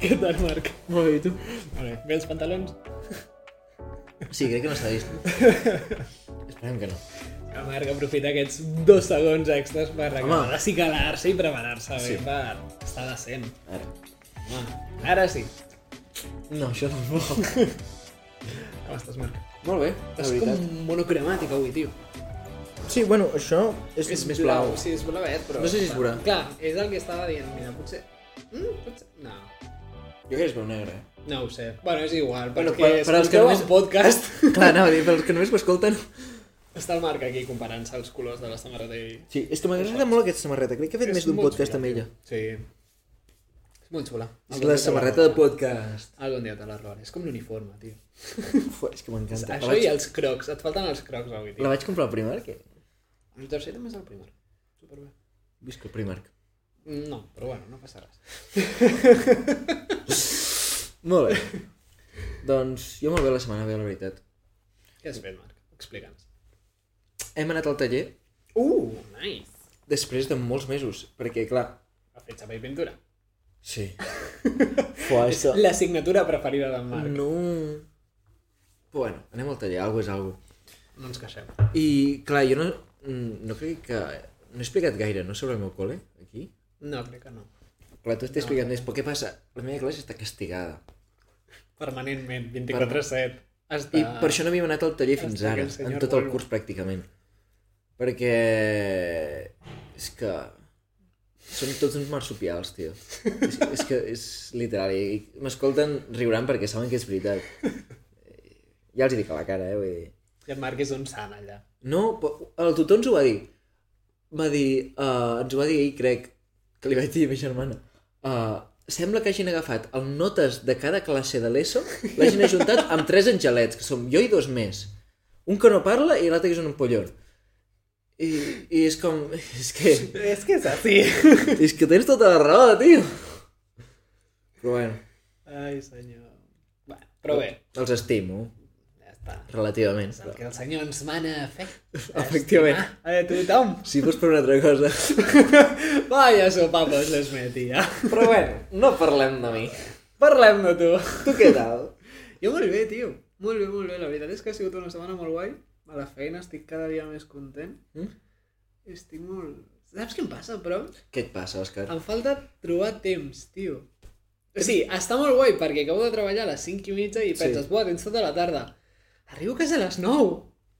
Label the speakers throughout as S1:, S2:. S1: Què tal, Marc?
S2: Molt bé, i tu?
S1: Molt bé. Bé els pantalons?
S2: Sí, crec que no s'ha vist. Esperem que no.
S1: Que Ah, Marc aprofita aquests dos segons extres per acabar de cicalar-se i preparar-se bé
S2: Sí.
S1: per estar decent.
S2: Ara.
S1: Home, ara sí.
S2: No, això tampoc.
S1: Com estàs, Marc?
S2: Molt bé, la
S1: Estàs
S2: veritat.
S1: com monocromàtic avui, tio.
S3: Sí, bueno, això és,
S2: És més blau.
S1: Sí, és blavet, però...
S2: No sé si és vorà.
S1: Clar, és el que estava dient. Mira, potser... Mm, potser... No.
S2: Jo crec que és veu negre. eh?
S1: No ho sé. Bueno, és igual,
S2: Bueno,
S1: perquè
S2: per- per als que
S1: escolteu
S2: només-
S1: el podcast...
S2: Clar, anava a dir, però els que només ho escolten...
S1: Està el Marc aquí comparant-se els colors de la samarreta i...
S2: Sí, és que
S3: M'agrada molt aquesta samarreta, crec que he fet
S1: És
S3: més d'un
S1: molt
S3: podcast
S1: xula,
S3: amb
S1: tio.
S3: ella.
S1: Sí. És molt xula.
S2: És la samarreta de podcast.
S1: Algun dia te la robaré. És com l'uniforme, tio.
S2: Uf, és que m'encanta. La,
S1: Això i
S2: vaig...
S1: els crocs. Et falten els crocs avui, tio.
S2: la vaig comprar al Primark. eh?
S1: El tercer també és el primer. Superbé.
S2: Visca el Primark.
S1: No, però bueno, no passa res.
S2: Molt bé. doncs jo molt bé la setmana ve, la veritat.
S1: Què has fet, Marc? Explica'ns.
S2: Hem anat al taller
S1: Uh, nice.
S2: després de molts mesos, perquè clar...
S1: Ha fet xapa i pintura.
S2: Sí. Fua, això...
S1: La signatura preferida d'en Marc.
S2: No... Però bueno, anem al taller, algo és algo. Mm.
S1: No ens queixem.
S2: I clar, jo no, mm, no crec que... No he explicat gaire, no, sobre el meu col·le, aquí?
S1: No, crec que no.
S2: Clar, tu estàs explicant més, però què passa? La meva classe està castigada.
S1: Permanentment, 24-7. Està...
S2: I per això no havíem anat al taller fins
S1: Està
S2: ara,
S1: aquell senyor
S2: en tot el
S1: Polvo.
S2: curs pràcticament. Perquè... És que... Són tots uns marsupials, tio. És, és que és literal. I i m'escolten, riuran perquè saben que és veritat. Eh, Ja els hi dic a la cara, eh? Vull dir...
S1: I en Marc és un sant, allà.
S2: No, però el tutor ens ho va dir. Va dir, uh, ens ho va dir ahir, crec, que li vaig dir a ma germana. Uh, sembla que hagin agafat el notes de cada classe de l'ESO, l'hagin ajuntat amb tres angelets, que som jo i dos més. Un que no parla i l'altre que és un empollón. I, I és com... És que,
S1: És que és així.
S2: és que tens tota la raó, tio. Però bueno,
S1: Ai, senyor. Bueno, però bé,
S2: els estimo,
S1: ja està.
S2: relativament.
S1: És el
S2: Però...
S1: que el senyor ens mana a fer.
S2: Efectivament.
S1: Estimar A tothom.
S2: Si fos per una altra cosa.
S1: Vaya sopapos les metia.
S2: Però bueno, no parlem de mi.
S1: Parlem de tu.
S2: Tu què tal?
S1: Jo molt bé, tio. Molt bé, molt bé. La veritat és que ha sigut una setmana molt guai. A la feina estic cada dia més content.
S2: Mm?
S1: Estic molt... Saps què em passa, però?
S2: Què et passa, Òscar?
S1: Em falta trobar temps, tio. O sigui, està molt guai perquè acabo de treballar a les 5 i mitja i
S2: Sí.
S1: penses, buah, tens tota la tarda. Arribo a casa a les 9.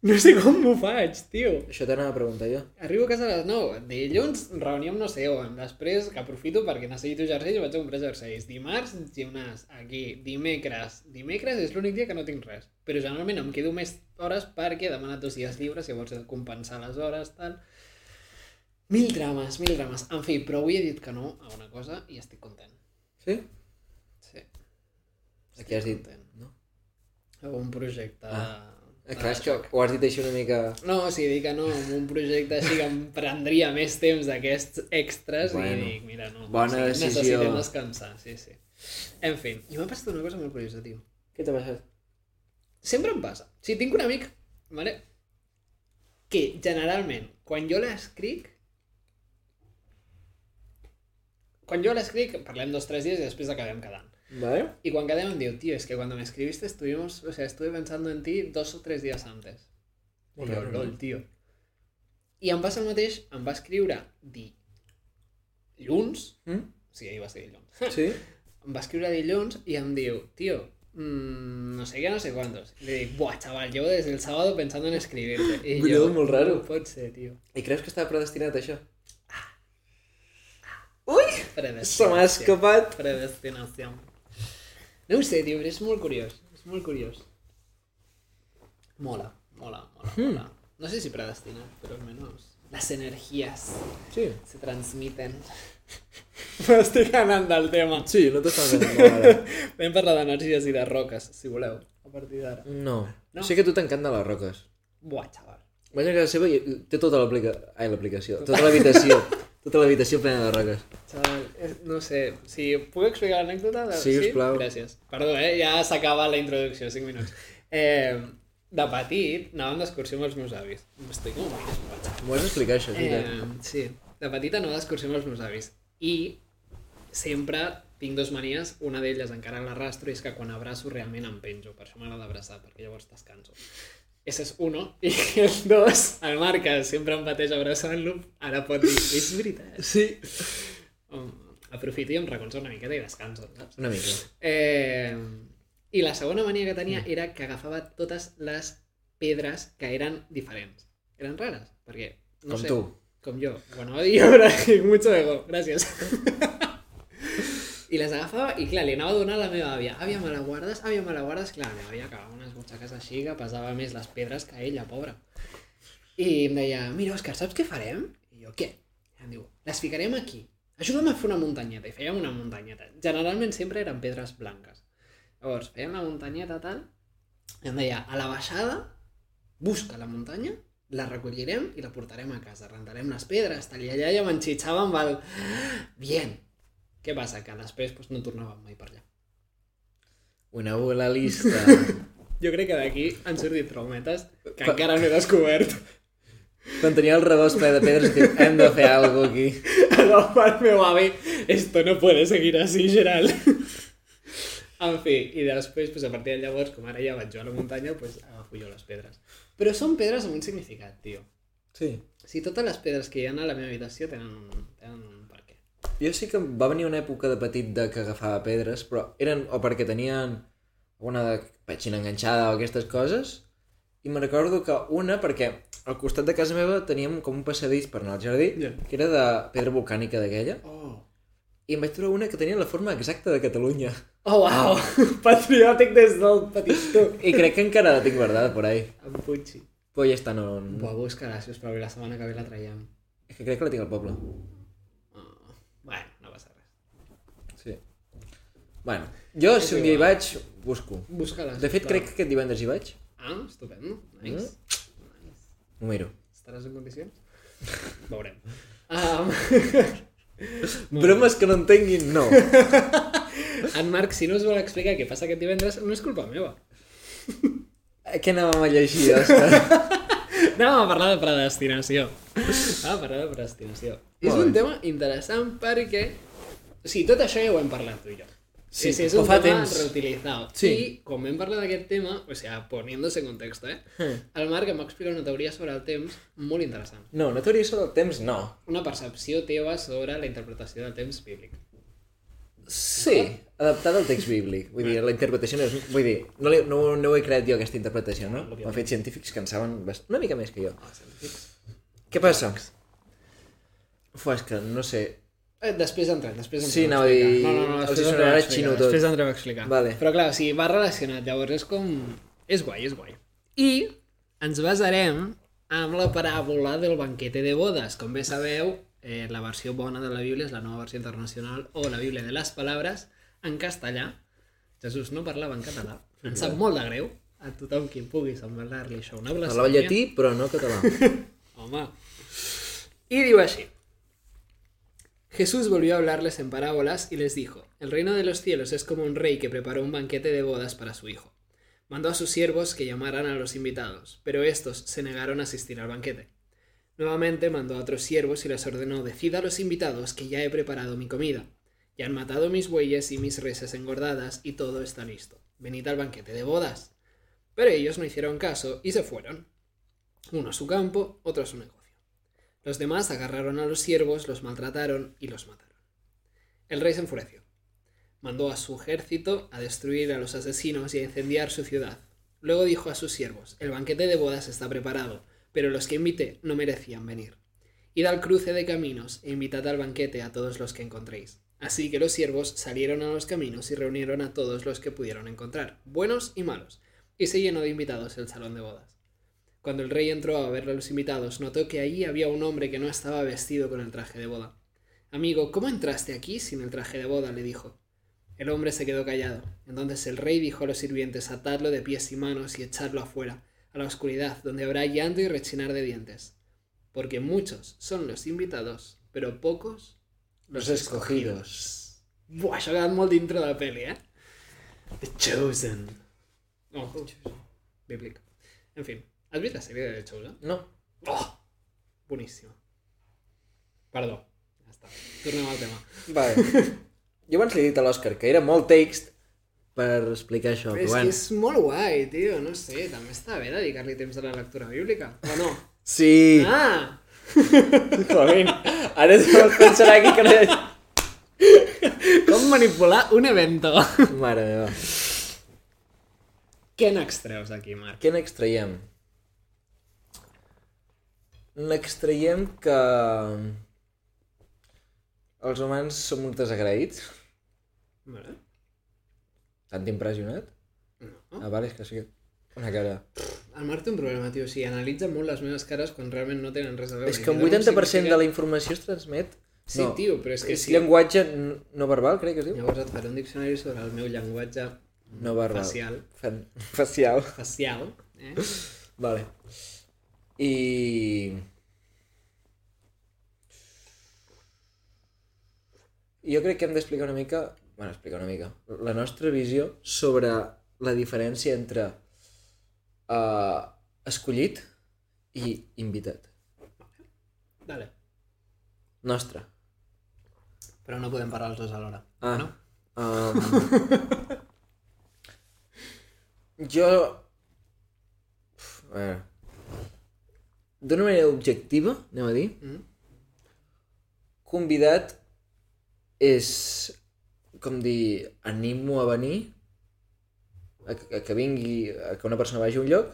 S1: No sé com m'ho faig, tio.
S2: Això t'anava a preguntar jo.
S1: Arribo a casa a les 9. Dilluns, reunió amb no sé on. Després, que aprofito perquè necessito jerseis, vaig a comprar jerseis. Dimarts, gimnàs. Aquí. Dimecres. Dimecres és l'únic dia que no tinc res. Però generalment em quedo més hores perquè he demanat dos dies lliures, llavors he de compensar les hores, tal. Mil drames, mil drames. En fi, però avui he dit que no a una cosa i estic content.
S2: Sí?
S1: Sí.
S2: Aquí has dit...
S1: content.
S2: No?
S1: A un projecte...
S2: Ah.
S1: de-
S2: Ah, clar, és que ho has dit així una mica...
S1: No, o sigui, dic que no, amb un projecte així que em prendria més temps d'aquests extras bueno,
S2: Bueno.
S1: i dic, mira, no,
S2: Bona
S1: o sigui,
S2: decisió.
S1: necessitem descansar, sí, sí. En fi, i m'ha passat una cosa molt curiosa, tio.
S2: Què t'ha passat?
S1: Sempre em passa. O sigui, tinc un amic, vale? que generalment, quan jo l'escric, quan jo l'escric, parlem dos o tres dies i després acabem quedant.
S2: Vale.
S1: Y Juan Cadena me dijo, tío, es que cuando me escribiste estuvimos, o sea, estuve pensando en ti dos o tres días antes. Y
S2: Bueno,
S1: yo,
S2: no.
S1: lol, tío. I em va ser el mateix, em va escriure di... Lluns,
S2: Mm?
S1: sí, ahir va ser dilluns,
S2: Sí?
S1: em va escriure dilluns i em diu, tío, mm, no sé qué, no sé cuántos. I li dic, buah, chaval, llevo desde el sábado pensando en escribirte. I
S2: Collons, molt raro.
S1: No pot ser, tío.
S2: I creus que estava predestinat a això? Se m'ha
S1: Predestinació.
S2: escapat!
S1: Predestinació. No ho sé, tio, però és molt curiós. És molt curiós. Mola, mola, mola, mola. No sé si predestinat, però almenys les energies
S2: Sí.
S1: se transmiten. M'estic anant del tema.
S2: Sí, no t'estava enganant ara.
S1: Vam parlar d'energies i de roques, si voleu, a partir d'ara.
S2: No.
S1: No.
S2: no. Sé que tu t'encanta les roques.
S1: Buah, xaval.
S2: Vaig a casa seva i té tota l'aplicació... Ai, l'aplicació. Tota l'habitació. tota l'habitació plena de roques.
S1: Xaval, és- no sé, si puc explicar l'anècdota? De...
S2: Sí, sisplau.
S1: Gràcies. Perdó, eh? Ja s'acaba la introducció, 5 minuts. Eh, de petit anàvem d'excursió amb els meus avis. Estic com molt desmolat.
S2: M'ho has d'explicar, això, és
S1: Eh,
S2: veritat.
S1: sí, de petita anava d'excursió amb els meus avis. I sempre Tinc dos manies, una d'elles encara l'arrastro i és que quan abraço realment em penjo, per això m'agrada abraçar, perquè llavors descanso. Ese és uno, i el dos, el Marc, que sempre em pateix abraçant-lo, ara pot dir, és veritat.
S2: Sí.
S1: Um, aprofito i em recolzo una miqueta i descanso, saps?
S2: Una mica.
S1: Eh, I la segona mania que tenia
S2: Mm.
S1: era que agafava totes les pedres que eren diferents. Eren rares, perquè... No
S2: Com
S1: sé,
S2: tu.
S1: Com jo. Bueno, yo ahora mucho ego. Gracias. I les agafava i, clar, li anava a donar a la meva àvia. Àvia, me la guardes? Àvia, me la guardes? Clar, la meva àvia acabava amb unes butxaques així que pesava més les pedres que ella, pobra. I em deia, mira, Òscar, saps què farem? I jo, què? I em diu, les ficarem aquí. Ajuda'm a fer una muntanyeta. I fèiem una muntanyeta. Generalment sempre eren pedres blanques. Llavors, fèiem la muntanyeta tal, i em deia, a la baixada, busca la muntanya, la recollirem i la portarem a casa. Rentarem les pedres, tal i allà, i m'enxitxava amb el... Bien. Què passa? Que després doncs, no tornàvem mai per allà.
S2: Una bola lista.
S1: Jo crec que d'aquí han sortit traumetes que
S2: Pa-
S1: encara no he descobert.
S2: Quan tenia el rebost ple de pedres, dic, hem de fer alguna aquí.
S1: Agafar el meu avi. Esto no puede seguir así, Gerald. En fi, i després, doncs, a partir de llavors, com ara ja vaig jo a la muntanya, doncs, agafo jo les pedres. Però són pedres amb un significat, tio.
S2: Sí.
S1: Si totes les pedres que hi ha a la meva habitació tenen un, tenen un per què.
S2: Jo sí que va venir una època de petit de que agafava pedres, però eren o perquè tenien una de petxina enganxada o aquestes coses, i me recordo que una, perquè al costat de casa meva teníem com un passadís per anar al jardí,
S1: Ja.
S2: que era de pedra volcànica d'aquella,
S1: Oh.
S2: i em vaig trobar una que tenia la forma exacta de Catalunya.
S1: Oh, wow! Patriòtic des del petit tu.
S2: I crec que encara la tinc guardada por ahí.
S1: Em punxi.
S2: Però ja està, no... no.
S1: Buah, busca-la, sisplau, i la setmana que ve la traiem.
S2: És que crec que la tinc al poble.
S1: Oh. Bueno, no passa res.
S2: Sí. Bueno, jo si un dia hi vaig, busco.
S1: Busca-la.
S2: De fet,
S1: sisplau. Mm.
S2: crec que aquest divendres hi vaig.
S1: Ah, estupendo. Nice. nice.
S2: Ho miro.
S1: Estaràs en condicions? Veurem. Um,
S2: Bromes que no entenguin, no.
S1: en Marc, si no us vol explicar què passa aquest divendres, no és culpa meva.
S2: Eh, Què anàvem a llegir, Òscar?
S1: Anàvem a parlar de predestinació. Anàvem a parlar de predestinació.
S2: Molt
S1: és un
S2: bé.
S1: tema interessant perquè... O sigui, tot això ja ho hem parlat tu i jo.
S2: Sí,
S1: és, és
S2: però
S1: un
S2: fa
S1: tema
S2: temps.
S1: reutilizado.
S2: Sí.
S1: I com hem parlat d'aquest tema, o sigui, poniéndose en context, eh? El Marc em va explicar una teoria sobre el temps molt interessant.
S2: No, una teoria sobre el temps, no.
S1: Una percepció teva sobre la interpretació del temps bíblic.
S2: Sí. Adaptada al text bíblic. Vull dir, la interpretació no és... Vull dir, no, li, no, no ho he creat jo, aquesta interpretació, no? Ho han fet científics que en saben bast... una mica més que jo.
S1: Ah,
S2: Què passa? Fua, és que no sé.
S1: Eh, després entrem, després entrem.
S2: Sí,
S1: a
S2: anava a dir-
S1: explicar. No, no, no,
S2: els
S1: després
S2: sonarà
S1: entrem a explicar,
S2: xino tot.
S1: Després entrem a explicar.
S2: Vale.
S1: Però clar, o sigui, va relacionat, llavors és com... És guai, és guai. I ens basarem amb la paràbola del banquete de bodes. Com bé sabeu, eh, la versió bona de la Bíblia és la nova versió internacional o la Bíblia de les Palabres en castellà. Jesús no parlava en català. Em sap molt de greu a tothom qui pugui semblar-li això una blasfèmia.
S2: Parlava llatí, però no català.
S1: Home. Y digo así. Jesús volvió a hablarles en parábolas y les dijo, El reino de los cielos es como un rey que preparó un banquete de bodas para su hijo. Mandó a sus siervos que llamaran a los invitados, pero estos se negaron a asistir al banquete. Nuevamente mandó a otros siervos y les ordenó, Decid a los invitados que ya he preparado mi comida. Ya han matado mis bueyes y mis reses engordadas y todo está listo. Venid al banquete de bodas. Pero ellos no hicieron caso y se fueron uno a su campo, otro a su negocio. Los demás agarraron a los siervos, los maltrataron y los mataron. El rey se enfureció. Mandó a su ejército a destruir a los asesinos y a incendiar su ciudad. Luego dijo a sus siervos, el banquete de bodas está preparado, pero los que invité no merecían venir. Id al cruce de caminos e invitad al banquete a todos los que encontréis. Así que los siervos salieron a los caminos y reunieron a todos los que pudieron encontrar, buenos y malos, y se llenó de invitados el salón de bodas. Cuando el rey entró a ver a los invitados, notó que allí había un hombre que no estaba vestido con el traje de boda. Amigo, ¿cómo entraste aquí sin el traje de boda? le dijo. El hombre se quedó callado. Entonces el rey dijo a los sirvientes atadlo de pies y manos y echadlo afuera, a la oscuridad, donde habrá llanto y rechinar de dientes. Porque muchos son los invitados, pero pocos
S2: Los escogidos.
S1: Buah, això ha quedat molt dintre de la peli, eh? The Chosen. Oh, bíblic. En fi, has vist la sèrie de The Chosen?
S2: No.
S1: Oh, boníssima. Perdó. Ja està. Tornem al tema.
S2: Vale. Jo abans li he dit a l'Òscar que era molt text per explicar això,
S1: Però
S2: però
S1: és
S2: bueno.
S1: que és molt guai, tio, no sé, també està bé dedicar-li temps a la lectura bíblica, o no?
S3: Sí.
S1: Ah!
S2: Joder, ara es pensarà aquí que no...
S1: Com manipular un evento.
S2: Mare meva.
S1: Què n'extreus aquí, Marc?
S2: Què n'extraiem? N'extraiem que... Els humans som uns desagraïts.
S1: Vale.
S2: T'han impressionat?
S1: No.
S2: Ah, vale, és que sí. Una cara.
S1: El Marc té un problema, tio, o sigui, analitza molt les meves cares quan realment no tenen res a veure.
S2: És que
S1: I
S2: un
S1: llavors
S2: 80% de
S1: significa-
S2: la informació es transmet...
S1: Sí,
S2: no,
S1: tio, però és que
S2: És
S1: sí.
S2: llenguatge n- no verbal, crec que es diu?
S1: Llavors et faré un diccionari sobre el meu llenguatge
S2: No verbal.
S1: facial.
S2: Fan... Facial.
S1: Facial, eh?
S2: Vale. I... Jo crec que hem d'explicar una mica, bueno, explicar una mica, la nostra visió sobre la diferència entre uh, escollit i invitat.
S1: Dale.
S2: Nostra.
S1: Però no podem parar els dos alhora.
S2: Ah,
S1: No?
S2: Um... jo... Uf, A veure... D'una manera objectiva, anem a dir,
S1: Mm?
S2: convidat és com dir animo a venir a, a que vingui, a que una persona vagi a un lloc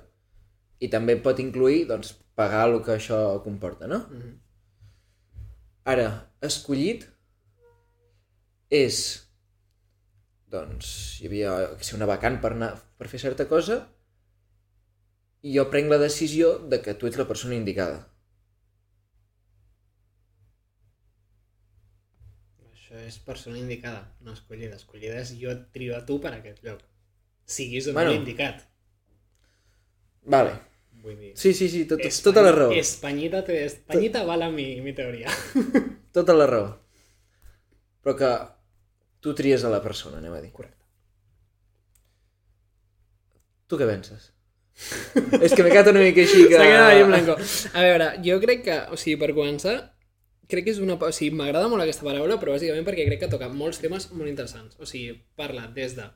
S2: i també pot incluir doncs, pagar el que això comporta, no?
S1: Mm.
S2: Ara, escollit és doncs hi havia jo que sé, una vacant per, anar, per fer certa cosa i jo prenc la decisió de que tu ets la persona indicada.
S1: Això és persona indicada, no escollida. Escollida és jo et trio a tu per aquest lloc. Siguis o
S2: Bueno.
S1: no indicat.
S2: Vale.
S1: Vull dir...
S2: Sí, sí, sí, tot,
S1: Espanyi-
S2: tota la raó.
S1: Espanyita, te, Espanyita vala mi, mi teoria.
S2: Tota la raó. Però que tu tries a la persona, anem a dir.
S1: Correcte.
S2: Tu què penses? és que m'he quedat una mica així que...
S1: S'ha quedat ahí en blanco. A veure, jo crec que, o sigui, per començar, crec que és una... pa- O sigui, m'agrada molt aquesta paraula, però bàsicament perquè crec que toca molts temes molt interessants. O sigui, parla des de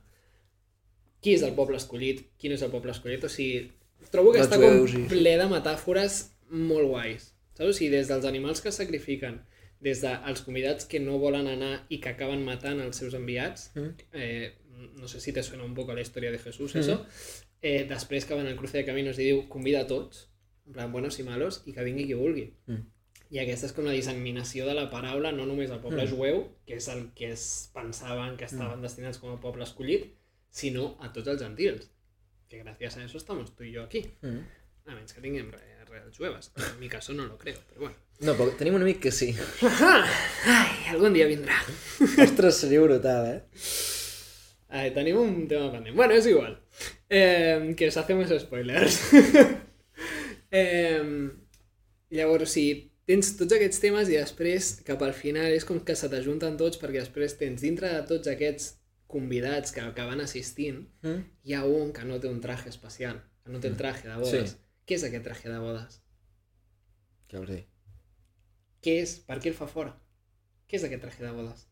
S1: qui és el poble escollit, qui no és el poble escollit, o sigui, trobo que
S2: Dels
S1: està
S2: jueus i-
S1: com ple de metàfores molt guais. Saps? O sigui, des dels animals que es sacrifiquen, des dels convidats que no volen anar i que acaben matant els seus enviats,
S2: Mm.
S1: eh, no sé si te suena un poc a la història de Jesús, mm. això, eh, després que van al cruce de caminos i diu convida a tots, en plan buenos i malos, i que vingui qui vulgui.
S2: Mm.
S1: I aquesta és com la disseminació de la paraula, no només al poble
S2: Mm.
S1: jueu, que és el que es pensaven que estaven destinats com a poble escollit, sinó a tots els gentils. Que gràcies a eso estamos tú y yo aquí.
S2: Mm.
S1: A menys que tinguem re- reals jueves. que En mi caso no lo creo, pero bueno.
S2: No, però tenim un amic que sí.
S1: Ai, algun dia vindrà.
S2: Ostres, seria brutal, eh?
S1: Ai, tenim un tema pendent. Bueno, és igual. Eh, que os hacemos spoilers. eh, llavors, sí, tens tots aquests temes i després, cap al final, és com que se t'ajunten tots perquè després tens dintre de tots aquests convidats que acaben assistint,
S2: Mm?
S1: hi ha un que no té un traje especial, que no té el traje de bodes.
S2: Sí.
S1: Què és aquest traje de bodes?
S2: Què vols dir?
S1: Què és? Per què el fa fora? Què és aquest traje de Oh, bodes?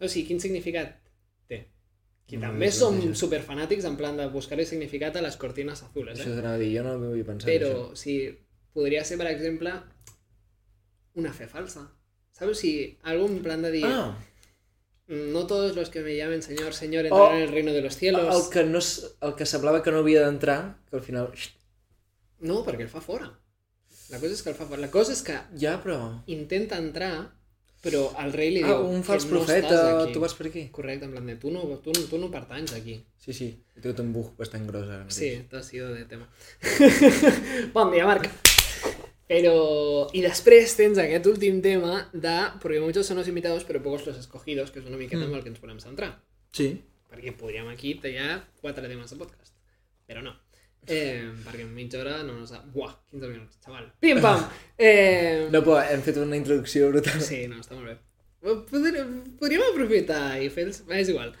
S1: O sigui, quin significat té? Que
S2: No
S1: també
S2: m'ho
S1: som
S2: plantejo.
S1: superfanàtics en plan de buscar-hi significat a les cortines azules,
S2: Això
S1: eh?
S2: t'anava a dir, jo no m'ho havia pensat.
S1: Però, si podria ser, per exemple, una fe falsa. ¿Sabes? Si algún plan de dir,
S2: Això. Ah,
S1: no todos los que me llamen señor,
S2: Oh.
S1: señor, entrarán en el reino de los cielos.
S2: el que, no, s- el que semblava que no havia d'entrar, que al final... Xt,
S1: No, perquè el fa fora. La cosa és que el fa fora. La cosa és que
S2: Ja, però...
S1: intenta entrar, però el rei li
S2: Ah,
S1: diu...
S2: un
S1: que
S2: fals
S1: no estàs
S2: profeta,
S1: aquí.
S2: tu vas per aquí?
S1: Correcte, en plan de tu no, tu, no- tu no pertanys aquí.
S2: Sí, sí, he tingut un buf bastant gros ara mateix.
S1: Sí, t'ha sido de tema. bon dia, Marc. Però... I després tens aquest últim tema de... Porque muchos son los invitados, pero pocos los escogidos, que és una miqueta
S2: Mm.
S1: amb el que ens volem centrar.
S2: Sí.
S1: Perquè podríem aquí tallar quatre temes de podcast. Però no. Eh, perquè en mitja hora no nos... Buah, 15 minuts, xaval. Pim-pam! Eh...
S2: No, però hem fet una introducció brutal.
S1: Sí, no, està molt bé. Podríem, podríem aprofitar i fer-los... És igual.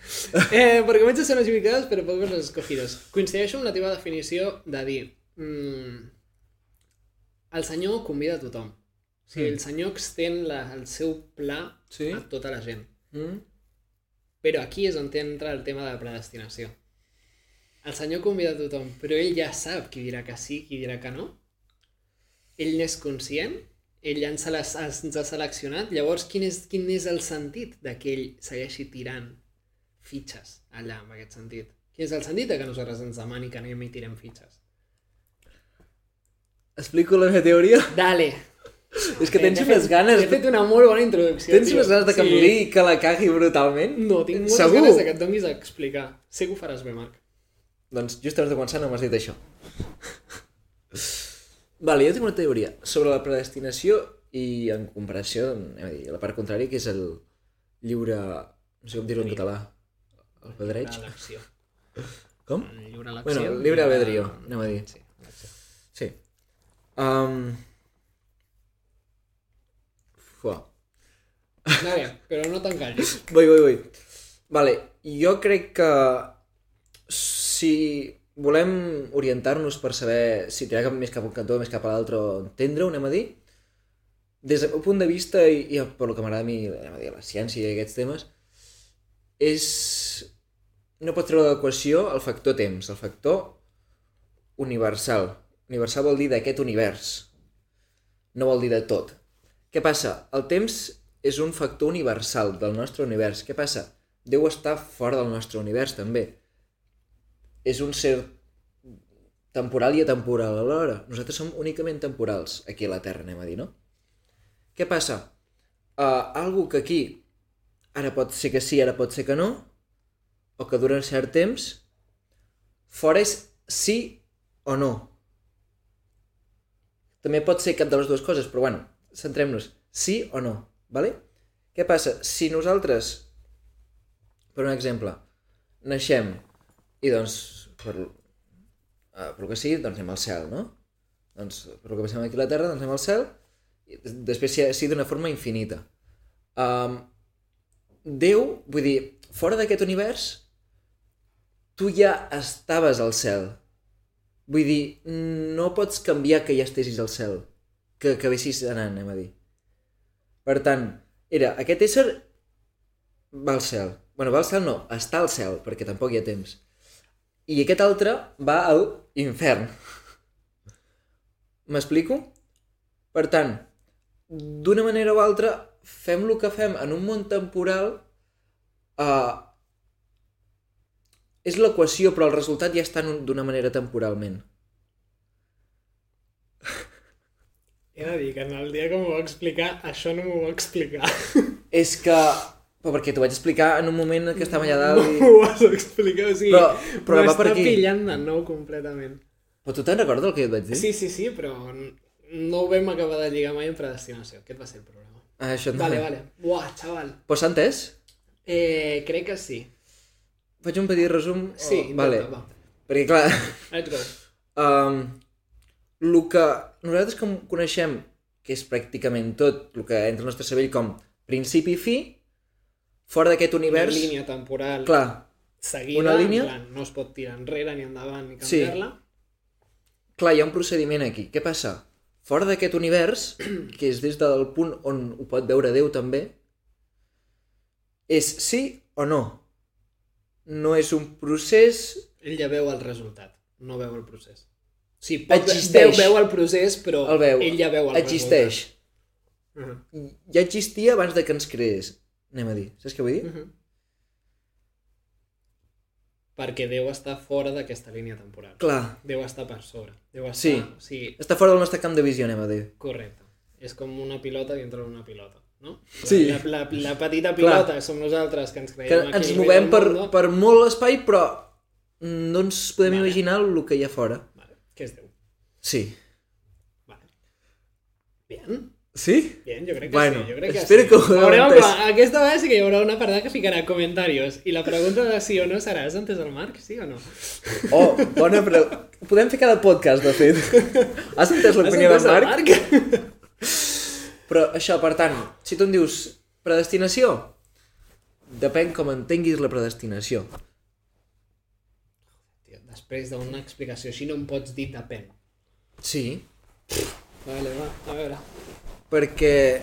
S1: Eh, perquè menys són els ubicats, però pocs els escogidos. Coincideixo amb la teva definició de dir... Mm, el senyor convida a tothom. O sigui,
S2: Mm.
S1: el senyor extén la, el seu pla
S2: Sí?
S1: a tota la gent.
S2: Mm?
S1: Però aquí és on entra el tema de la predestinació. El senyor convida a tothom, però ell ja sap qui dirà que sí, qui dirà que no. Ell n'és conscient, ell ja ens, ha, ens ha seleccionat, llavors quin és, quin és el sentit de que ell segueixi tirant fitxes allà, en aquest sentit? Quin és el sentit de que nosaltres ens demani que anem i tirem fitxes?
S2: Explico la meva teoria?
S1: Dale!
S2: És que
S1: He
S2: tens
S1: fet-
S2: unes ganes...
S1: He fet una molt bona introducció,
S2: Tens
S1: tio.
S2: unes ganes de que em
S1: Sí.
S2: liï i que la cagui brutalment?
S1: No, tinc moltes
S2: Segur.
S1: ganes de que et donis a explicar. Sé que ho faràs bé, Marc.
S2: Doncs just abans de començar no m'has dit això. Vale, jo tinc una teoria sobre la predestinació i en comparació, anem a dir, la part contrària, que és el lliure... No sé com dir-ho en català. El pedreig?
S1: Lliure elecció.
S2: Com?
S1: Lliure elecció.
S2: Bueno, el llibre albedrío, anem a dir.
S1: Sí, elecció.
S2: Sí. Um... Fuà.
S1: Vale, però no t'encallis.
S2: Vull, vull, vull. Vale, jo crec que si volem orientar-nos per saber si tirar cap més cap a un cantó, més cap a l'altre, o entendre-ho, anem a dir, des del meu punt de vista, i, i per el que m'agrada a mi, anem a dir, la ciència i aquests temes, és... no pot treure d'equació el factor temps, el factor universal. Universal vol dir d'aquest univers, no vol dir de tot. Què passa? El temps és un factor universal del nostre univers. Què passa? Déu està fora del nostre univers, també. És un ser temporal i atemporal alhora. Nosaltres som únicament temporals, aquí a la Terra, anem a dir, no? Què passa? Uh, algo que aquí ara pot ser que sí, ara pot ser que no, o que dura un cert temps, fora és sí o no. També pot ser cap de les dues coses, però bueno, centrem-nos. Sí o no, vale? Què passa? Si nosaltres, per un exemple, naixem i doncs, per, uh, per lo que sigui, doncs anem al cel, no? Doncs, per lo que passem aquí a la Terra, doncs anem al cel, i des- després sí, sí d'una forma infinita. Um, Déu, vull dir, fora d'aquest univers, tu ja estaves al cel. Vull dir, no pots canviar que ja estessis al cel, que acabessis anant, anem a dir. Per tant, era, aquest ésser va al cel. bueno, va al cel no, està al cel, perquè tampoc hi ha temps. I aquest altre va al infern. M'explico? Per tant, d'una manera o altra, fem lo que fem en un món temporal eh, és l'equació, però el resultat ja està en un- d'una manera temporalment.
S1: He de dir que en el dia que m'ho va explicar, això no m'ho va explicar.
S2: És que... Però perquè t'ho vaig explicar en un moment que estàvem allà
S1: No
S2: dalt i...
S1: m'ho vas explicar, o sigui,
S2: Però- però
S1: m'està
S2: va per aquí.
S1: pillant de nou completament.
S2: Però tu te'n recordes del que et vaig dir?
S1: Sí, sí, sí, però n- no ho vam acabar de lligar mai en predestinació. Aquest va ser el problema.
S2: Ah, això no.
S1: Vale, vale. Buah, xaval.
S2: Però s'ha entès?
S1: Eh, crec que sí.
S2: Faig un petit resum? O-
S1: Sí, intenta,
S2: Oh, vale.
S1: va.
S2: Perquè, clar,
S1: Let's go.
S2: um, el que nosaltres com coneixem, que és pràcticament tot el que entra al nostre cervell com principi i fi, fora d'aquest
S1: Una
S2: univers...
S1: línia temporal
S2: Clar,
S1: seguida,
S2: una línia.
S1: en plan, no es pot tirar enrere ni endavant ni
S2: Sí.
S1: canviar-la.
S2: clar, hi ha un procediment aquí. Què passa? Fora d'aquest univers, que és des del punt on ho pot veure Déu també, és sí o no. No és un procés...
S1: Ell ja veu el resultat, no veu el procés. Sí, pot,
S2: Existeix.
S1: Veu, veu el procés, però
S2: El veu.
S1: ell ja veu el
S2: Existeix.
S1: resultat.
S2: Ja existia abans de que ens creés. Anem a dir. Saps què vull dir?
S1: Uh -huh. Perquè Déu està fora d'aquesta línia temporal.
S2: Clar.
S1: Déu està per sobre. Déu està...
S2: Sí.
S1: O sigui,
S2: Està fora del nostre camp de visió, anem a dir.
S1: correcte. És com una pilota dintre d'una pilota, no?
S2: Sí.
S1: La, la, la petita pilota som nosaltres que ens creiem
S2: Que
S1: aquí
S2: ens
S1: al mig
S2: movem
S1: del
S2: per,
S1: mundo.
S2: per molt espai, però no ens podem
S1: Vale.
S2: imaginar el que hi ha fora.
S1: Vale. Què és Déu?
S2: Sí.
S1: Vale. Bien.
S2: Sí?
S1: Bien, jo crec que
S2: Bueno,
S1: sí, jo crec que
S2: espero
S1: sí.
S2: que ho hagueu
S1: Veurem,
S2: entès.
S1: va, aquesta vegada sí que hi haurà una part que ficarà comentaris i la pregunta de sí o no serà, has entès el Marc, sí o no?
S2: Oh, bona pregunta. Podem fer cada podcast, de fet. Has entès
S1: Has
S2: l'opinió del
S1: entès el
S2: Marc? Però això, per tant, si tu em dius predestinació, depèn com entenguis la predestinació.
S1: Tio, després d'una explicació així no em pots dir depèn.
S2: Sí,
S1: Vale, va, a veure.
S2: perquè...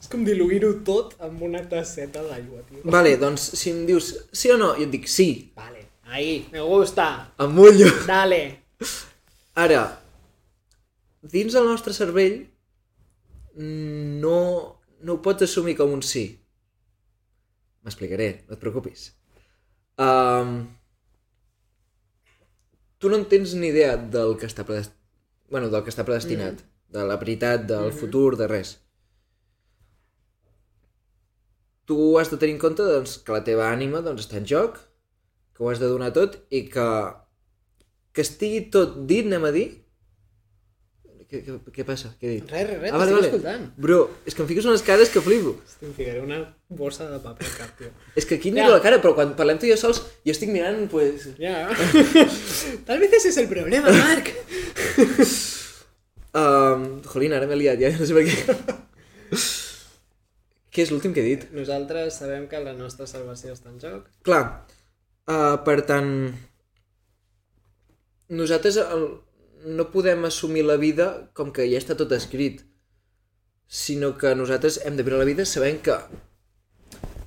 S1: És com diluir-ho tot amb una tasseta d'aigua, tio.
S2: Vale, doncs si em dius sí o no, jo et dic sí,
S1: Vale. Ahí, me gusta.
S2: em mullo.
S1: Dale.
S2: Ara, dins del nostre cervell no, no ho pots assumir com un sí. M'explicaré, no et preocupis. Um, tu no en tens ni idea del que està, predest... bueno, del que està predestinat, mm. de la veritat, del mm. futur, de res. Tu has de tenir en compte doncs, que la teva ànima doncs, està en joc, que ho has de donar tot i que que estigui tot dit, anem a dir? Què, què, què passa? Què he dit?
S1: Res, res, res, t'estic escoltant.
S2: Bro, és que em fiques unes cares que flipo.
S1: Hosti, Em ficaré una bossa de paper al cap, tio.
S2: És que aquí et miro
S1: Ja.
S2: la cara, però quan parlem tu i jo sols, jo estic mirant, pues...
S1: Ya. Tal vez ese es el problema, Marc.
S2: Um, jolín, ara m'he liat, ja no sé per què. què és l'últim que he dit?
S1: Nosaltres sabem que la nostra salvació està en joc.
S2: Clar, uh, per tant... Nosaltres el... no podem assumir la vida com que ja està tot escrit, sinó que nosaltres hem de viure la vida sabent que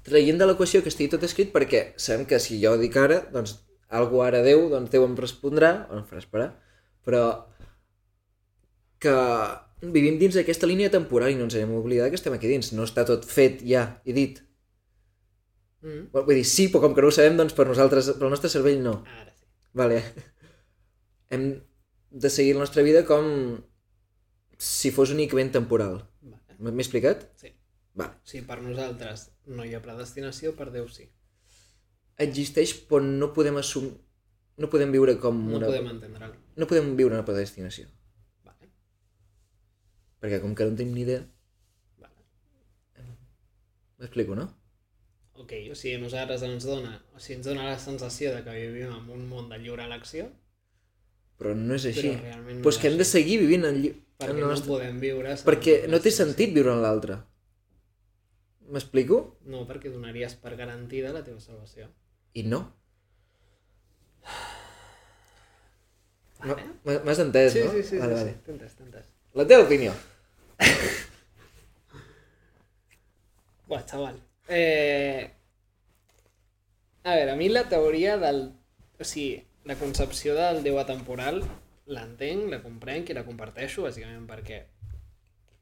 S2: traient de l'equació que estigui tot escrit perquè sabem que si jo ho dic ara, doncs algú ara Déu, doncs Déu em respondrà o em farà esperar, però que vivim dins d'aquesta línia temporal i no ens hem oblidat que estem aquí dins, no està tot fet ja i dit.
S1: Mm.
S2: Bueno, Vull dir, sí, però com que no ho sabem, doncs per nosaltres, pel nostre cervell no.
S1: Ara sí.
S2: Vale. Hem de seguir la nostra vida com si fos únicament temporal.
S1: Vale.
S2: M'he m'he explicat?
S1: Sí.
S2: Vale.
S1: Sí, per nosaltres no hi ha predestinació, per Déu sí.
S2: Existeix, però no podem assumir... No podem viure com
S1: No
S2: una...
S1: podem entendre'l.
S2: no podem viure una predestinació.
S1: Vale.
S2: Perquè com que no en tenim ni idea... eh,
S1: Vale.
S2: M'explico, no?
S1: Ok, o sigui, a nosaltres ens dona, o sigui, ens dona la sensació de que vivim en un món de lliure elecció,
S2: Però no és així.
S1: però realment no
S2: Però és que
S1: és
S2: hem de
S1: així.
S2: seguir vivint en, lli... en
S1: perquè
S2: la
S1: no,
S2: nostra...
S1: podem viure... sense
S2: Perquè no té
S1: predestinació.
S2: sentit viure en l'altre. M'explico?
S1: No, perquè donaries per garantida la teva salvació.
S2: I no. No,
S1: Vale.
S2: m'ha- M'has entès,
S1: Sí,
S2: no?
S1: sí, sí,
S2: vale,
S1: sí,
S2: vale.
S1: sí. t'entens, t'entens.
S2: La teva opinió.
S1: Buah, chaval. Eh... A veure, a mi la teoria del... O sigui, la concepció del Déu atemporal l'entenc, la comprenc i la comparteixo, bàsicament perquè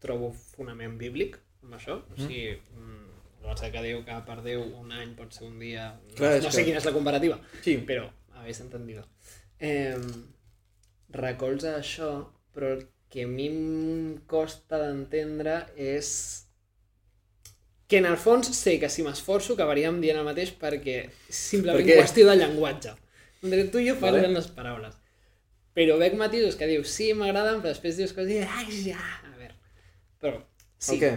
S1: trobo fonament bíblic amb això. O sigui, mm. el verset que diu que per Déu un any pot ser un dia...
S2: Clar,
S1: no,
S2: és
S1: no sé
S2: que-
S1: quina és la comparativa,
S2: Sí.
S1: però habéis entendido. Eh, recolza això, però el que a mi em costa d'entendre és que en el fons sé que si m'esforço acabaríem dient el mateix perquè és simplement
S2: Per què?
S1: perquè... qüestió de llenguatge. Entre tu i jo
S2: Vale.
S1: parlem vale. les paraules. Però veig matisos que dius sí, m'agraden, però després dius coses i ai, ja, a veure. Però sí.
S2: El què?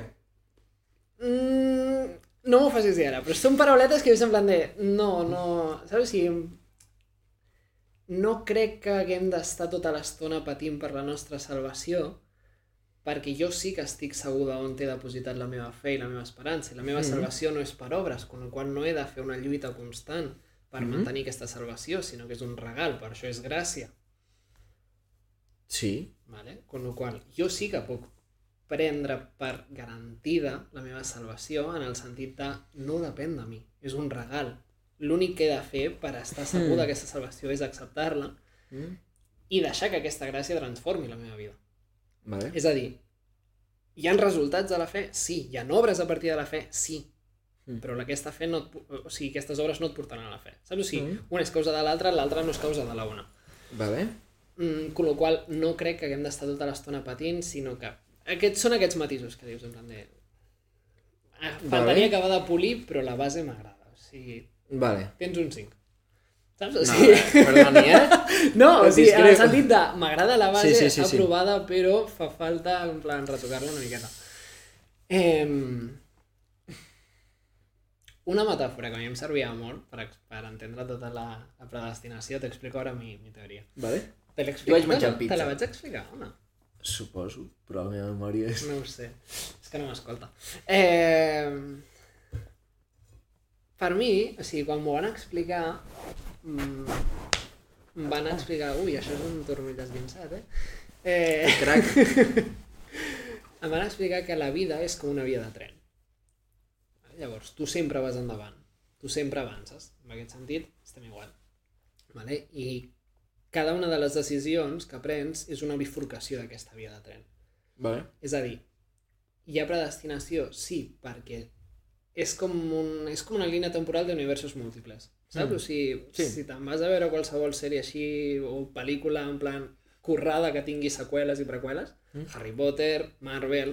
S1: Mm, no m'ho facis dir ara, però són parauletes que dius en plan de no, no, saps? O sigui, no crec que haguem d'estar tota l'estona patint per la nostra salvació, perquè jo sí que estic segur d'on he depositat la meva fe i la meva esperança, i la meva mm
S2: Mhm.
S1: -hmm. salvació no és per obres, amb la qual no he de fer una lluita constant per mm
S2: Mhm.
S1: -hmm. mantenir aquesta salvació, sinó que és un regal, per això és gràcia.
S2: Sí.
S1: ¿vale? Con lo qual, jo sí que puc prendre per garantida la meva salvació en el sentit de no depèn de mi, és un regal. L'únic que he de fer per estar segur
S2: Mm.
S1: d'aquesta salvació és acceptar-la
S2: Mm?
S1: i deixar que aquesta gràcia transformi la meva vida.
S2: Vale.
S1: És a dir, hi han resultats de la fe? Sí. Hi han obres a partir de la fe? Sí.
S2: Mm.
S1: Però aquesta fe no et, pu- o sigui, aquestes obres no et portaran a la fe. Saps? O sigui,
S2: Mm.
S1: una és causa de l'altra, l'altra no és causa de la una.
S2: Vale.
S1: Mm, con lo qual no crec que haguem d'estar tota l'estona patint, sinó que aquests són aquests matisos que dius, en plan de... Ah, Faltaria
S2: Vale.
S1: acabar de polir, però la base m'agrada. O sigui,
S2: Vale.
S1: tens un 5. Saps? O
S2: No,
S1: sigui,
S2: perdoni, eh?
S1: no, o sigui, en el
S2: discrepo.
S1: sentit de m'agrada la base
S2: Sí, sí, sí, sí.
S1: aprovada, però fa falta, en plan, retocar-la una miqueta. Eh, una metàfora que a mi em servia molt per, ex- per entendre tota la, la predestinació, t'explico ara mi, mi teoria.
S2: Vale.
S1: Te l'explico.
S2: vaig menjar
S1: Te
S2: pizza.
S1: la vaig explicar, home.
S2: Suposo, però la meva memòria és...
S1: No ho sé. És que no m'escolta. Eh... Per mi, o sigui, quan m'ho van explicar... mm, Em van explicar... Ui, això és un turmell esguinçat, eh? eh...
S2: Crac.
S1: Em van explicar que la vida és com una via de tren. Llavors, tu sempre vas endavant, tu sempre avances. En aquest sentit, estem igual. Vale? I cada una de les decisions que prens és una bifurcació d'aquesta via de tren.
S2: Vale.
S1: És a dir, hi ha predestinació, sí, perquè és com, un, és com una línia temporal d'universos múltiples. Saps?
S3: Mm.
S1: Mm. O sigui,
S3: Sí.
S1: sí. si te'n vas a veure qualsevol sèrie així o pel·lícula en plan currada que tingui seqüeles i preqüeles,
S3: Mm.
S1: mm. Harry Potter, Marvel,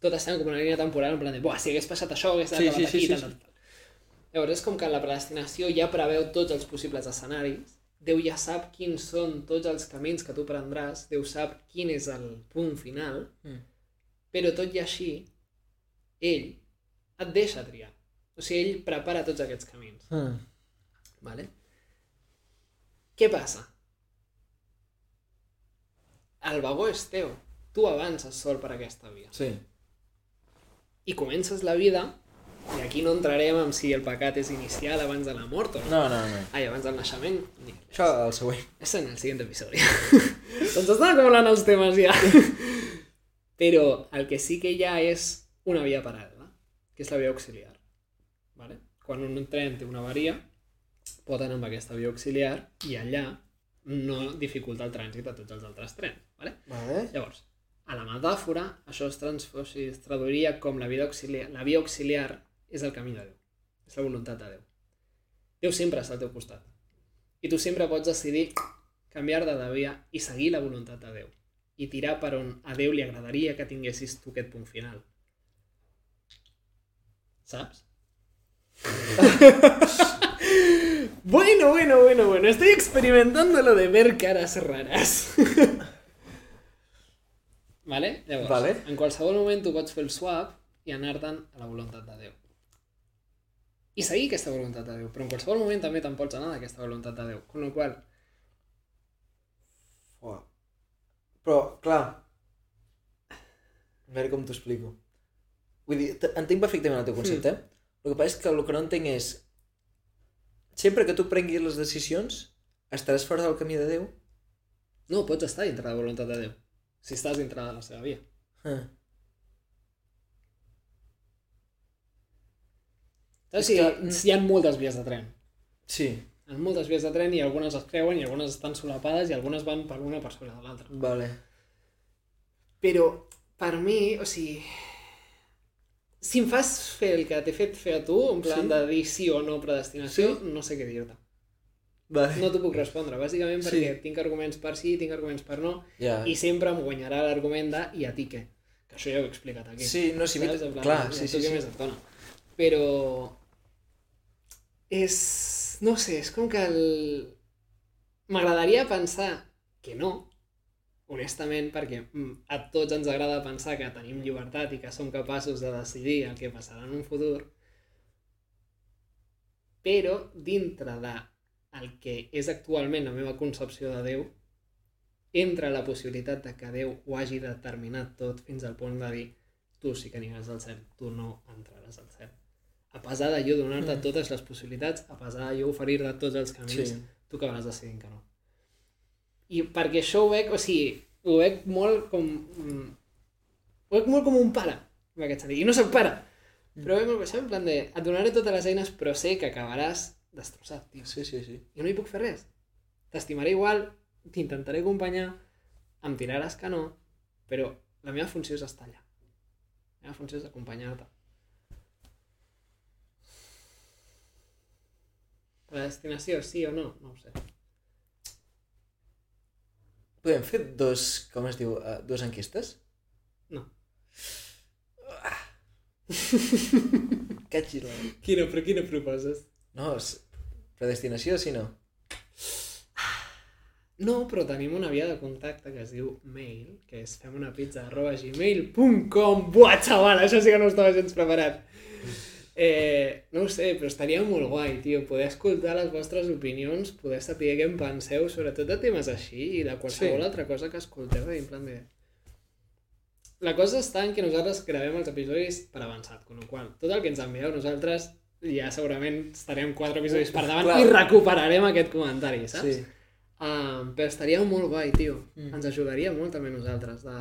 S1: tot estan com una línia temporal en plan de, buah, si hagués passat això, hagués
S2: Sí,
S1: acabat sí,
S2: sí, sí,
S1: aquí, sí,
S2: sí,
S1: tal, tal,
S2: sí.
S1: tal. Llavors és com que la predestinació ja preveu tots els possibles escenaris, Déu ja sap quins són tots els camins que tu prendràs, Déu sap quin és el punt final,
S3: Mm.
S1: però tot i així, ell et deixa triar. O sigui, ell prepara tots aquests camins.
S3: Mm.
S1: Vale? Què passa? El vagó és teu. Tu avances sol per aquesta via.
S2: Sí.
S1: I comences la vida, i aquí no entrarem en si el pecat és inicial abans de la mort o no.
S2: No, no, no.
S1: Ai, abans del naixement? Ni-
S2: Això el següent.
S1: Eso en el siguiente episodio. Doncs estan acumulant els temes ja. Però el que sí que hi ha és una via paral·lela, que és la via auxiliar. Vale? Quan un tren té una avaria, pot anar amb aquesta via auxiliar i allà no dificulta el trànsit a tots els altres trens. Vale?
S3: Vale.
S1: Llavors, a la metàfora, això es, trans- o sigui, es traduiria com la vida auxiliar. La via auxiliar és el camí de Déu. És la voluntat de Déu. Déu sempre està al teu costat. I tu sempre pots decidir canviar de via i seguir la voluntat de Déu. I tirar per on a Déu li agradaria que tinguessis tu aquest punt final. Saps? bueno, bueno, bueno, bueno. Estoy experimentando lo de ver caras raras. vale? Llavors,
S2: Vale.
S1: en qualsevol moment tu pots fer el swap i anar-te'n a la voluntat de Déu. I seguir aquesta voluntat de Déu. Però en qualsevol moment també te'n pots anar d'aquesta voluntat de Déu. Con lo qual,
S3: Uah. Però, clar... A veure com t'ho explico.
S2: Vull dir, te- entenc perfectament el teu concepte. Mm. El que passa és que el que no entenc és... Sempre que tu prenguis les decisions, estaràs fora del camí de Déu?
S1: No, pots estar dintre de la voluntat de Déu. Si estàs dintre de la seva via.
S2: Ah.
S1: Saps?
S2: És
S1: Sí,
S2: que-
S1: hi ha moltes vies de tren.
S2: Sí,
S1: Hi ha moltes vies de tren i algunes es creuen i algunes estan solapades i algunes van per una per sobre de l'altra.
S2: vale.
S1: Però, per mi, o sigui... Si em fas fer el que t'he fet fer a tu, en plan
S2: Sí.
S1: sí? de dir sí o no predestinació, sí? no sé què dir-te.
S2: Vale.
S1: No t'ho puc respondre, bàsicament
S2: Sí.
S1: perquè tinc arguments per sí, Ah. tinc arguments per no,
S2: Ja.
S1: i sempre em guanyarà l'argument de i a ti què? Que això ja ho he explicat aquí.
S2: Sí, no, sí,
S1: Saps?
S2: mi-
S1: En plan,
S2: clar,
S1: mira,
S2: sí,
S1: tu
S2: sí,
S1: què
S2: sí.
S1: més et dona? Però... És... No sé, és com que el... M'agradaria pensar que no, honestament, perquè mm, a tots ens agrada pensar que tenim llibertat i que som capaços de decidir el que passarà en un futur, però dintre de el que és actualment la meva concepció de Déu, entra la possibilitat de que Déu ho hagi determinat tot fins al punt de dir tu sí que aniràs al cel, tu no entraràs al cel. A pesar de jo donar-te
S3: Mm.
S1: totes les possibilitats, a pesar de jo oferir-te tots els camins,
S2: Sí.
S1: tu acabaràs decidint que no. I perquè això ho veig, o sigui, ho veig molt com... mm, Ho veig molt com un pare, en aquest sentit. I no soc pare, però ho veig molt com això, en plan de... Et donaré totes les eines, però sé que acabaràs destrossat, tio.
S2: Sí, sí, sí.
S1: Jo no hi puc fer res. T'estimaré igual, t'intentaré acompanyar, em tiraràs que no, però la meva funció és estar allà. La meva funció és acompanyar-te. La destinació, sí o no? No ho sé.
S2: Podem fer dos, com es diu, uh, dues enquestes?
S1: No.
S2: Catxi la...
S1: Quina, però quina proposes?
S2: No, és predestinació, sí no?
S1: No, però tenim una via de contacte que es diu mail, que és fem una pizza arroba gmail.com Buah, xaval, això sí que no estava gens preparat. Eh, no ho sé, però estaria molt guai, tio, poder escoltar les vostres opinions, poder saber què en penseu, sobretot de temes així i de qualsevol
S2: Sí.
S1: sí. altra cosa que escolteu, i en plan de... La cosa està en que nosaltres gravem els episodis per avançat, amb la qual cosa, tot el que ens envieu nosaltres ja segurament estarem quatre episodis per davant
S2: Clar.
S1: i recuperarem aquest comentari, saps?
S2: Sí.
S1: Um, però estaria molt guai, tio.
S2: Mm.
S1: Mm. Ens ajudaria molt també a nosaltres de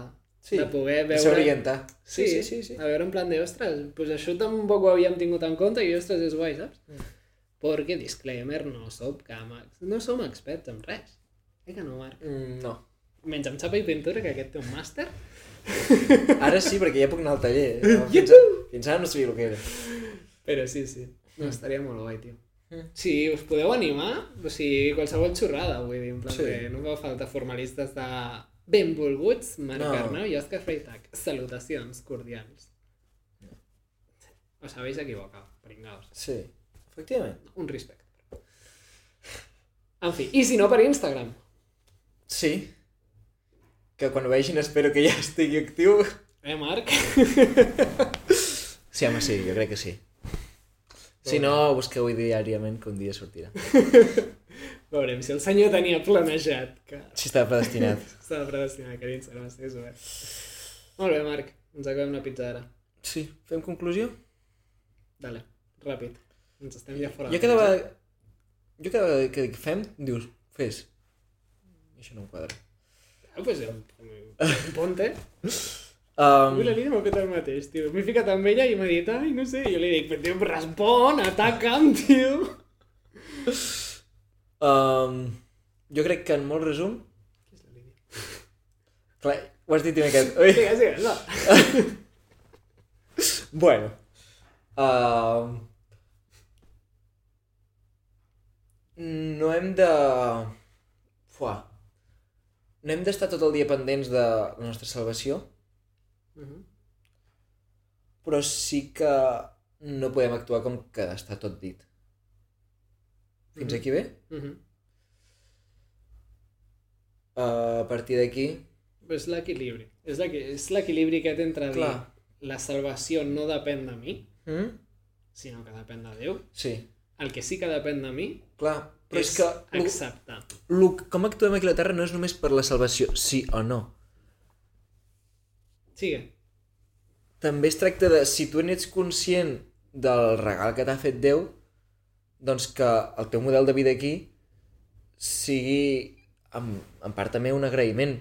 S3: Sí.
S1: de poder
S2: Veure...
S1: veure...
S2: orientar.
S1: Sí, sí, sí, sí. A veure, en plan de, ostres, pues això tampoc ho havíem tingut en compte i, ostres, és guai, saps?
S3: Mm.
S1: Perquè, disclaimer, no som càmecs, no som experts en res. Eh que no, Marc?
S3: Mm, no.
S1: Menys amb xapa i pintura, que aquest té un màster.
S3: Ara sí, perquè ja puc anar al taller. Eh? No, Fins, a- fins ara no sabia el que era.
S1: Però sí, sí. No, estaria molt guai, tio.
S3: Mm.
S1: Si us podeu animar, o sigui, qualsevol xorrada, vull dir, en plan
S3: Sí.
S1: sí. que no fa falta formalistes de benvolguts, Marc
S3: No.
S1: no. Arnau i Òscar Freitag. Salutacions cordials. Us habéis equivocado, pringaos.
S3: Sí, efectivament.
S1: Un respecte. En fi, i si no per Instagram.
S2: Sí.
S3: Que quan ho vegin espero que ja estigui actiu.
S1: Eh, Marc?
S2: Sí, home, sí, jo crec que sí. Si no, busqueu-hi diàriament que un dia sortirà.
S1: Veurem si el senyor tenia planejat que
S2: Si està predestinat.
S1: s'ha de predestinar que l'Instagram estigués obert. Molt bé, Marc. Ens acabem la pizza ara.
S3: Sí, fem conclusió?
S1: Dale, ràpid. Ens estem ja fora.
S2: Jo
S1: de
S2: cada
S1: temps,
S2: vegada... Jo cada vegada que dic fem, dius, fes. I això no em quadra.
S1: eh? Ah, pues, un, un ponte. Avui la
S2: Um,
S1: Lídia m'ha fet el mateix, tio. M'he ficat amb ella i m'ha dit, ai, no sé. I jo li dic, però tio, respon, ataca'm, tio.
S2: um, jo crec que en molt resum...
S1: Qui és la Lídia?
S2: Clar, ho has dit una miqueta. Ui.
S1: Digues, digues, no.
S2: Bueno. Uh, no hem de... Fuà. No hem d'estar tot el dia pendents de la nostra salvació,
S1: Mhm.
S2: però sí que no podem actuar com que està tot dit. Fins
S1: Mhm.
S2: aquí bé?
S1: Mhm.
S2: Uh, a partir d'aquí...
S1: Però és l'equilibri. És l'equi- és l'equilibri aquest entre dir
S2: Clar.
S1: la salvació no depèn de mi,
S2: Mm?
S1: sinó que depèn de Déu.
S2: Sí,
S1: El que sí que depèn de mi
S2: clar. Però és,
S1: és,
S2: que uh. lo,
S1: acceptar.
S2: lo, com actuem aquí a la Terra no és només per la salvació, sí o no.
S1: Sigue.
S2: també es tracta de, si tu n'ets conscient del regal que t'ha fet Déu, doncs que el teu model de vida aquí sigui, en, en part també, un agraïment.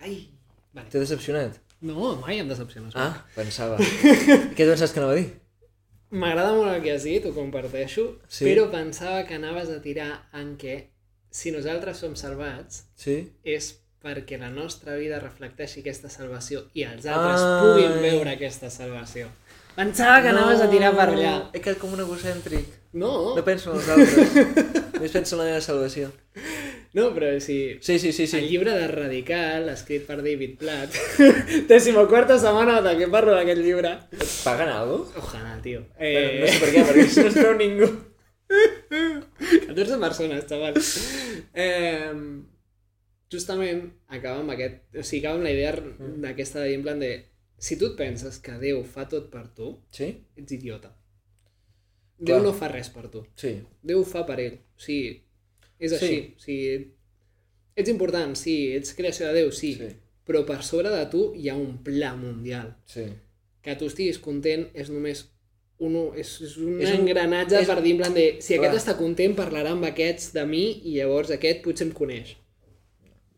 S1: Ai, vale.
S2: T'he decepcionat?
S1: No, mai em decepciones.
S2: Ah, pensava. Què pensaves que anava a dir?
S1: M'agrada molt el que has dit, ho comparteixo,
S2: Sí.
S1: sí. però pensava que anaves a tirar en què si nosaltres som salvats
S2: Sí?
S1: és perquè la nostra vida reflecteixi aquesta salvació i els altres
S2: Ai.
S1: puguin veure aquesta salvació. Pensava Ah, que anaves a tirar per allà.
S2: He quedat com un egocèntric.
S1: No,
S2: No penso en els altres. Només penso en la meva salvació.
S1: no però si
S2: Sí, sí, sí, sí.
S1: El llibre de Radical, escrit per David Platt. Decimoquarta setmana de què parlo d'aquest llibre.
S2: Et paguen alguna cosa?
S1: Ojalà, tio.
S2: Bueno,
S1: Eh,
S2: no sé per què, perquè això no es veu ningú.
S1: 14 persones, xaval. Eh, justament acaba amb aquest... O sigui, acaba amb la idea
S2: Mm.
S1: d'aquesta de dir en plan de... Si tu et penses que Déu fa tot per tu,
S2: Sí?
S1: ets idiota.
S2: Clar.
S1: Déu no fa res per tu.
S2: Sí.
S1: Déu ho fa per ell. O sigui, és
S2: Sí.
S1: així. O sigui, ets important, sí, ets creació de Déu, sí,
S2: Sí.
S1: sí, però per sobre de tu hi ha un pla mundial.
S2: Sí.
S1: que tu estiguis content és només un, és, és un
S2: És
S1: és
S2: un-
S1: engranatge
S2: és-
S1: per dir en plan de si
S2: Clar.
S1: aquest està content parlarà amb aquests de mi i llavors aquest potser em coneix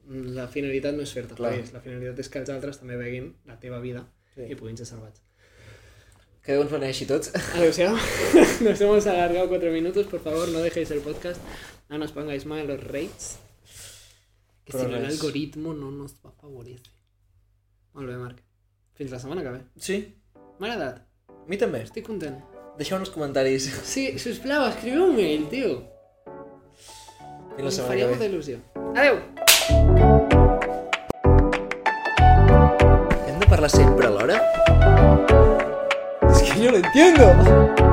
S1: la finalitat no és fer-te
S2: Clar.
S1: feliç la finalitat és que els altres també veguin la teva vida
S2: Sí.
S1: sí. i puguin ser salvats
S2: Que Déu ens beneixi tots.
S1: adeu-siau nos hemos alargado 4 minutos por favor no dejéis el podcast no nos pongáis mal los rates que
S2: Però
S1: si no el
S2: res.
S1: algoritmo no nos va a favorecer molt bé Marc fins la setmana que ve
S2: Sí.
S1: m'ha agradat
S2: A mi també.
S1: estic content
S2: Deixeu uns comentaris.
S1: Sí, sisplau, escriviu un mail, tio.
S2: Fins la
S1: Em
S2: setmana
S1: faria
S2: que ve.
S1: molta il·lusió. Adeu!
S2: Hem de parlar sempre alhora?
S3: Es que yo lo entiendo.